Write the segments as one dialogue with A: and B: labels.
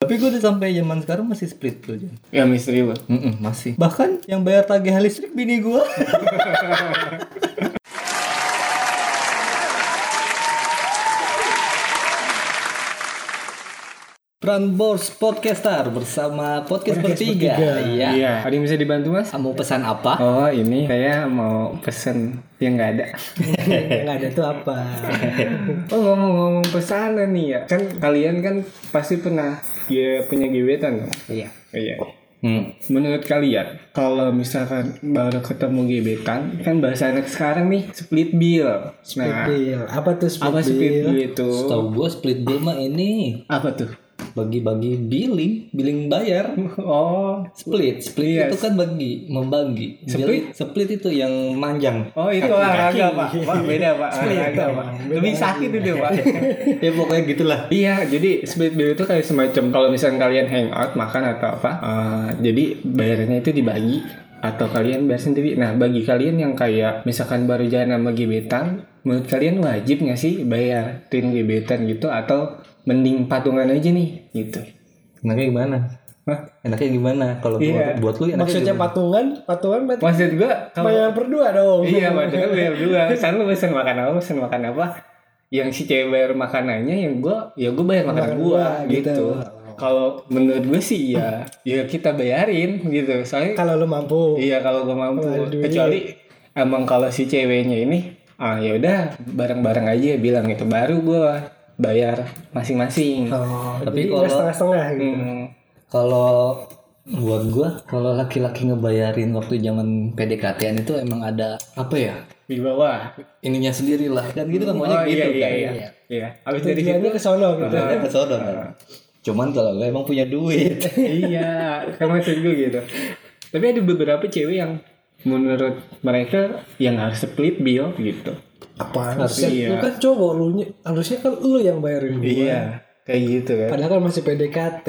A: Tapi gue udah sampai zaman sekarang masih split tuh. Jan.
B: Ya misteri lo.
A: Mm-mm, masih. Bahkan yang bayar tagihan listrik bini gue. Prambors Podcaster bersama podcast, bertiga. Iya.
B: Iya. Ada yang bisa dibantu mas?
A: Mau pesan apa?
B: Oh ini saya mau pesen yang nggak ada.
C: Nggak ada tuh apa?
B: oh ngomong-ngomong pesanan nih ya. Kan kalian kan pasti pernah ya, punya gebetan dong.
C: Iya.
B: Iya.
A: Hmm.
B: Menurut kalian, kalau misalkan baru ketemu gebetan, kan bahasa anak sekarang nih split bill.
C: Split
B: Nah,
C: bill. Apa tuh split
B: apa split
C: bill?
B: bill
A: gitu?
B: itu?
A: Tahu gue split bill mah ini
B: Apa tuh?
A: bagi-bagi billing, billing bayar.
B: Oh,
A: Split, split
B: Iya.
A: itu kan bagi, membagi.
B: Split?
A: Billing- split itu yang manjang.
B: Oh itu olahraga pak, pak beda pak, olahraga pak, lebih sakit itu pak.
A: ya pokoknya gitulah.
B: Iya, jadi split bill itu kayak semacam kalau misalnya kalian hangout makan atau apa, eh, jadi bayarnya itu dibagi atau kalian bayar sendiri. Nah, bagi kalian yang kayak misalkan baru jalan sama gebetan, menurut kalian wajib nggak sih bayar tin gebetan gitu atau mending patungan aja nih gitu?
A: Enaknya gimana?
B: Hah?
A: Enaknya gimana? Kalau buat,
B: Iya.
A: buat lu enaknya
C: Maksudnya
A: gimana?
C: patungan, patungan berarti
B: Maksud gua kalau
C: bayar berdua dong.
B: Iya, padahal bayar dua. Kan lu pesen makan apa, pesen makan apa. Yang si cewek bayar makanannya, yang gua ya gua bayar makan,
C: Makan
B: gua,
C: gua,
B: gitu.
C: gitu.
B: Kalau menurut gue sih ya, ya kita bayarin gitu. Soalnya
C: Kalau lu mampu.
B: iya kalau gua mampu.
C: Kalau ada duit.
B: Kecuali emang kalau si ceweknya ini, ah ya udah bareng-bareng aja bilang gitu. Baru gua bayar masing-masing.
C: Oh,
A: Tapi
C: Tapi
A: kalau-
C: setengah-setengah gitu.
B: Hmm.
A: Kalau buat gua, kalau laki-laki ngebayarin waktu zaman PDKT-an itu emang ada apa ya?
B: Di bawah.
A: Ininya sendiri lah. Dan gitu kan maunya
B: Oh
A: gitu
B: iya iya
A: kan.
B: iya. Iya. Abis dari situ
C: Tujuannya ke sono gitu.
A: Ada kesodor kan. Cuman kalau lu emang punya duit.
B: iya kan maksud gue gitu tapi ada beberapa cewek yang menurut mereka yang harus split bill gitu
C: Apa?
B: Iya.
C: Lu kan cowok lu ny- harusnya kan lu yang bayarin gua.
B: iya kayak gitu kan
C: Padahal kan masih PDKT.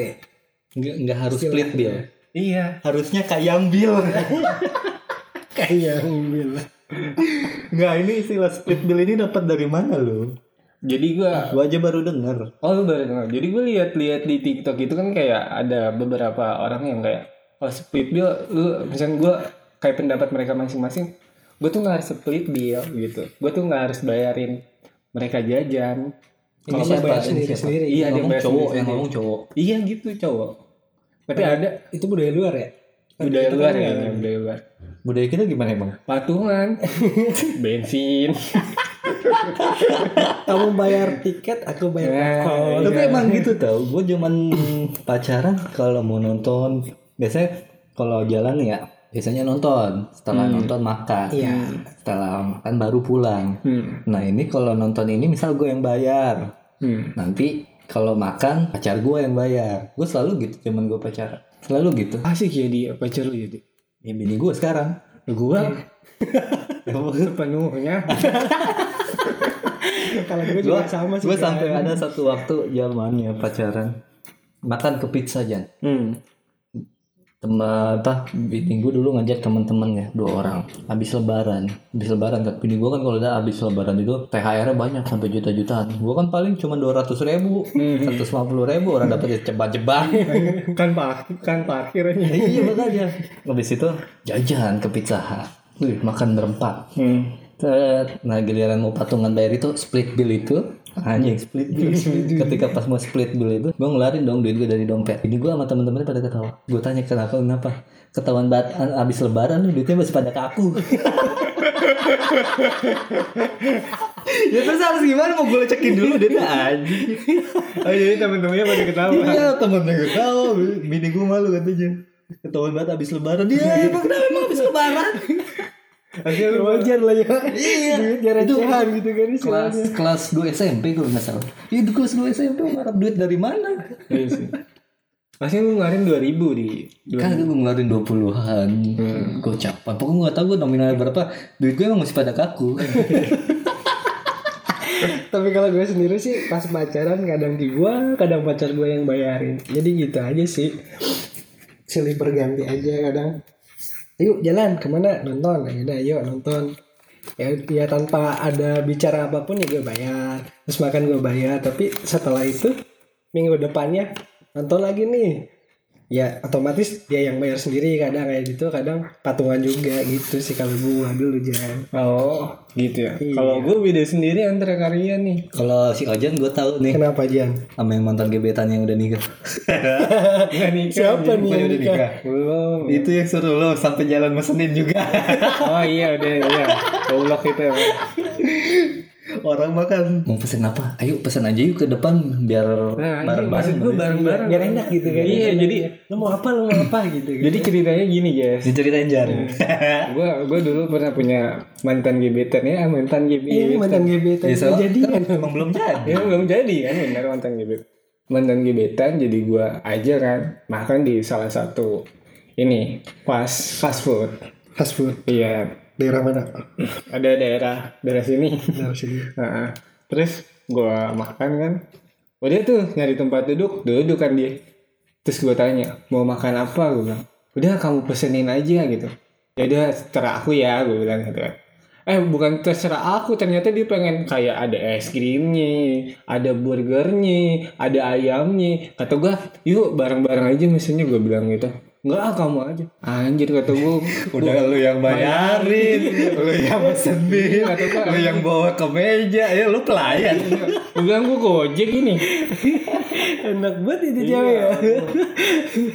A: Nggak, nggak harus split bill.
B: iya
A: Harusnya kayang bill.
C: Kayak yang bilang.
A: Nggak, ini istilah split bill ini dapat dari mana lu?
B: jadi gue
A: Gua aja baru denger.
B: oh lu baru dengar. jadi gue lihat-lihat di TikTok itu kan kayak ada beberapa orang yang kayak oh split bill lu misalnya gue kayak pendapat mereka masing-masing gue tuh nggak harus split bill gitu gue tuh nggak harus bayarin mereka jajan
A: Ini
B: Kalau
A: siapa?
C: bayar
A: Ini siapa?
C: sendiri-sendiri.
B: Iya,
A: Yang
B: dia
A: ngomong cowok,
B: bayar
A: yang
B: sendiri-sendiri.
A: ngomong cowok.
B: iya gitu cowok tapi ada
C: Itu budaya luar ya?
B: budaya luar ya budaya luar
A: Budaya kita gimana emang?
B: patungan bensin
C: Kamu bayar tiket, aku bayar
B: Eh,
C: alkohol.
A: Tapi emang gitu tau, gue zaman pacaran kalau mau nonton biasanya kalau jalan ya biasanya nonton, setelah nonton makan,
C: Iya.
A: setelah makan baru pulang. Nah ini kalau nonton ini misal gue yang bayar,
B: Hmm.
A: nanti kalau makan pacar gue yang bayar, gue selalu gitu zaman gue pacaran, selalu gitu.
B: asik ya dia pacar lu jadi
A: Ya bini gue sekarang,
C: Iya.
B: gua sepenuhnya
C: Kalau gue juga sama sih.
A: gue sampai ada satu waktu zamannya pacaran makan ke pizza Jan.
B: hmm.
A: teman apa bini gue dulu ngajak teman-temannya dua orang habis lebaran habis lebaran kan bini gue kan kalau udah habis lebaran itu thr nya banyak sampai juta-jutaan gue kan paling cuma dua ratus ribu
C: Hmm.
A: seratus ribu orang dapat jebak-jebak
C: Iya.
B: kan parkir kan parkirnya
A: iya makanya habis itu jajan ke pizza Hut. Wih, makan berempat
B: hmm.
A: Tet. Nah giliran mau patungan bayar itu split bill itu anjing split bill. Ketika pas mau split bill itu, gue ngelarin dong duit gue dari dompet. Ini gue sama temen-temennya pada ketawa. Gue tanya kenapa kenapa? Ketahuan banget a- abis lebaran lu duitnya masih pada ke aku. ya terus harus gimana mau gue lecekin dulu duitnya anjing.
B: oh jadi temen-temennya pada ketawa
A: Iya temennya gue tahu, bini gue malu katanya. Ketahuan banget abis lebaran Iya. dia Iya, emang kenapa emang abis lebaran?
B: akhirnya lu
C: wajar lah ya.
A: Iya.
C: Duit jarang
A: Itu-
C: jalan gitu kan
A: kelas kelas 2 SMP kalau nggak salah itu kelas 2 SMP ngarap duit dari mana
B: Iya sih. Akhirnya lu ngeluarin 2000 di
A: kan gue ngeluarin 20-an Hmm. gocapan pokoknya gue gak tau gue nominalnya berapa duit gue emang masih pada kaku
C: Tapi kalau gue sendiri sih pas pacaran kadang di gua, kadang pacar gue yang bayarin. Jadi gitu aja sih. Silih berganti aja kadang. Yuk jalan kemana nonton ya udah yuk nonton ya, ya tanpa ada bicara apapun ya gue bayar terus makan gue bayar tapi setelah itu minggu depannya nonton lagi nih ya otomatis dia yang bayar sendiri kadang kayak gitu kadang patungan juga gitu sih kalau gua dulu jangan
B: Oh, gitu ya.
C: Iya.
B: Kalau gue beda sendiri antara kalian nih.
A: Kalau si Ojan gue tahu nih
C: kenapa Jan
A: sama yang mantan gebetan yang udah nikah.
B: Nggak nikah, jadi
C: siapa nih
B: bukannya
C: yang
B: udah
C: nikah?
B: Belum.
A: Itu yang seru lo sampai jalan mesenin juga.
B: Oh iya udah iya. Goblok itu ya.
A: Orang makan. Mau pesen apa? Ayo pesan aja yuk ke depan biar
B: Nah, ini maksud
A: bareng-bareng.
B: gue bareng-bareng.
C: biar enak gitu kan
B: Iya, jadi
C: lu mau apa lu mau apa gitu kan
B: jadi ceritanya gini, guys.
A: Diceritain jar.
B: gue gue dulu pernah punya mantan gebetan ya, mantan
C: ini
B: gebetan.
C: Iya, mantan gebetan
A: Ya,
C: ya,
A: soalnya
C: jadi
A: kan emang belum jadi.
B: Ya belum jadi kan benar mantan gebet. Mantan gebetan jadi gua aja kan makan di salah satu ini fast fast food.
C: fast food
B: Iya,
C: daerah mana
B: ada daerah daerah sini.
C: daerah sini
B: Heeh. Terus gua makan kan. Udah tuh nyari tempat duduk, duduk kan dia. Terus gua tanya, "Mau makan apa?" gua bilang. "Udah kamu pesenin aja gitu." "Ya udah terserah aku ya," gua bilang gitu kan. Eh bukan terserah aku, ternyata dia pengen kayak ada es krimnya, ada burgernya, ada ayamnya. Kata gua, "Yuk bareng-bareng aja misalnya," gua bilang gitu. Enggak ah, kamu aja Anjir kata gua
A: Udah lu yang bayarin, lu yang mesenin, lu yang bawa ke meja, ya lu pelayan.
B: Gua bilang gua gojek ini
C: enak banget itu cewek ya
B: Iya,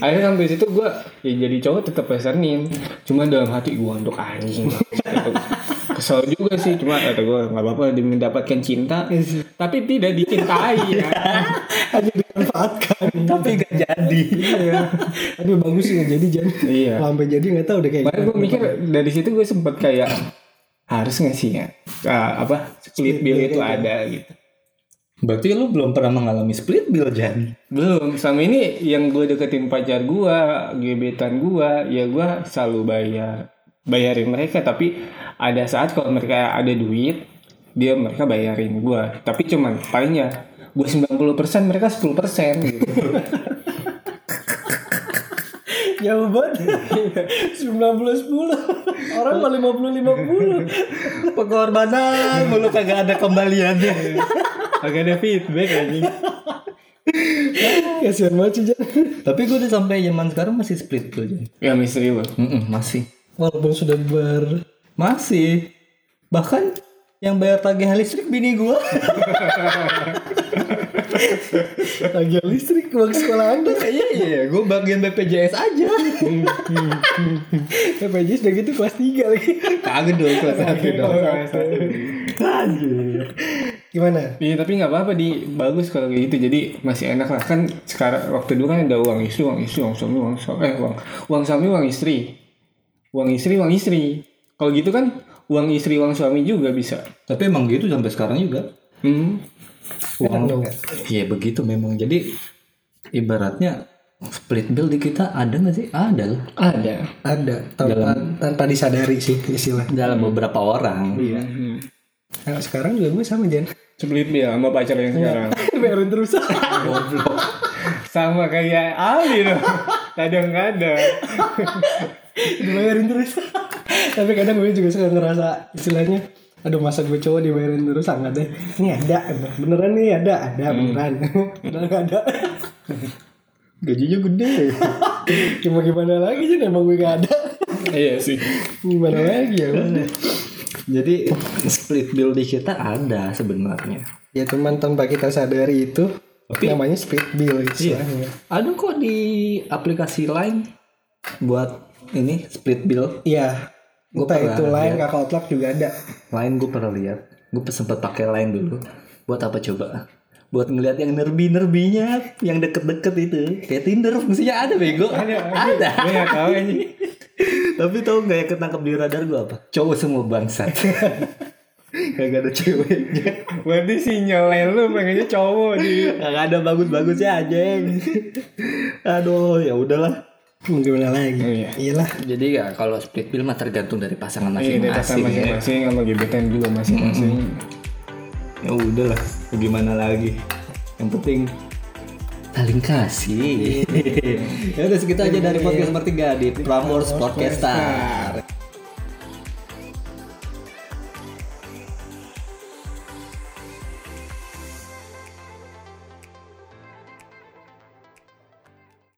B: akhirnya sampai situ gue ya jadi cowok tetap pesenin cuma dalam hati gue untuk anjing kesel juga sih cuma kata gue nggak apa-apa demi mendapatkan cinta tapi tidak dicintai ya.
C: hanya dimanfaatkan
A: Tapi gak jadi.
C: Iya. aduh bagus ya jadi Jan
B: Iya.
C: sampai jadi nggak tahu udah kayak
B: Makanya gue mikir dari situ gue sempet kayak harus nggak sih ya Ah, apa split bill itu ada gitu
A: Berarti lu belum pernah mengalami split bill Jan.
B: belum selama ini yang gue deketin pacar gue gebetan gue ya gue selalu bayar bayarin mereka tapi ada saat kalau mereka ada duit dia mereka bayarin gue tapi cuman ya, palingnya gue 90% mereka 10% gitu
C: jauh banget sembilan puluh sepuluh orang mau lima puluh lima puluh
A: Pengorbanan, mulu kagak ada kembaliannya.
B: agak ada feedback anjing
C: kasian banget sih Jan
A: Tapi gue udah sampai zaman sekarang masih split bill Jan.
B: ya misteri lo
A: Mm-mm, masih.
C: walaupun sudah ber
A: Masih. Bahkan yang bayar tagihan listrik bini gua.
C: tagihan listrik uang sekolah anda
A: Iya iya, gue bagian BPJS aja.
C: PPJS udah gitu kelas 3 lagi
A: Kagak dong kelas satu dong. Anjir.
C: gimana
B: Iya tapi nggak apa-apa di bagus kalau kayak gitu jadi masih enak lah kan sekarang waktu dulu kan ada uang istri uang istri uang suami uang suami eh uang uang suami uang istri uang istri uang istri kalau gitu kan uang istri uang suami juga bisa
A: Tapi emang gitu sampai sekarang juga.
B: hmm.
C: Enak dong nggak?
A: Iya begitu memang. Jadi ibaratnya split bill di kita ada nggak sih? Ada lah.
B: ada
C: ada tanpa tanpa disadari sih istilah
A: Dalam beberapa orang.
C: iya nah, sekarang juga gue sama Jan
B: Hmm. split bill sama pacar yang sekarang
C: bayarin terus
B: sama kayak Ali loh kadang-kadang
C: dibayarin terus tapi kadang gue juga suka ngerasa istilahnya aduh masa gue cowok dibayarin terus sangat deh ini ada beneran nih ada ada
A: Hmm.
C: beneran beneran nggak ada
A: Gajinya gede.
C: cuma gimana lagi Jan emang gue gak ada
B: iya sih
C: gimana lagi ya udah.
A: Jadi split bill di kita ada sebenarnya.
C: ya teman tanpa kita sadari itu namanya split bill
A: Iya.
C: istilahnya
A: Ada kok di aplikasi lain buat ini split bill.
C: Iya.
A: Gua
C: Entah
A: pernah
C: itu lain kakak Outlook juga ada.
A: Lain gue pernah lihat. Gue sempet pakai lain dulu. Buat apa coba? Buat ngeliat yang nerbi-nerbinya, yang deket-deket itu. Kayak Tinder fungsinya ada bego. ada.
B: gue nggak tahu anjing
A: Tapi tau gak yang ketangkep di radar gue apa? Cowok semua bangsa Gak ada ceweknya
B: berarti sinyalnya lu pengennya cowok di
A: Gak ada bagus-bagusnya anjing Aduh ya udahlah
C: Hmm, Gimana lagi?
B: Iya.
C: Iyalah.
A: Jadi ya kalau split bill mah tergantung dari pasangan
B: Iya, data
A: masing-masing
B: sama masing-masing sama gebetan juga masing-masing.
A: Ya udahlah Gimana lagi Yang penting Iya. saling kasih ya udah segitu aja dari podcast bertiga di Prambors Iya. Podcaster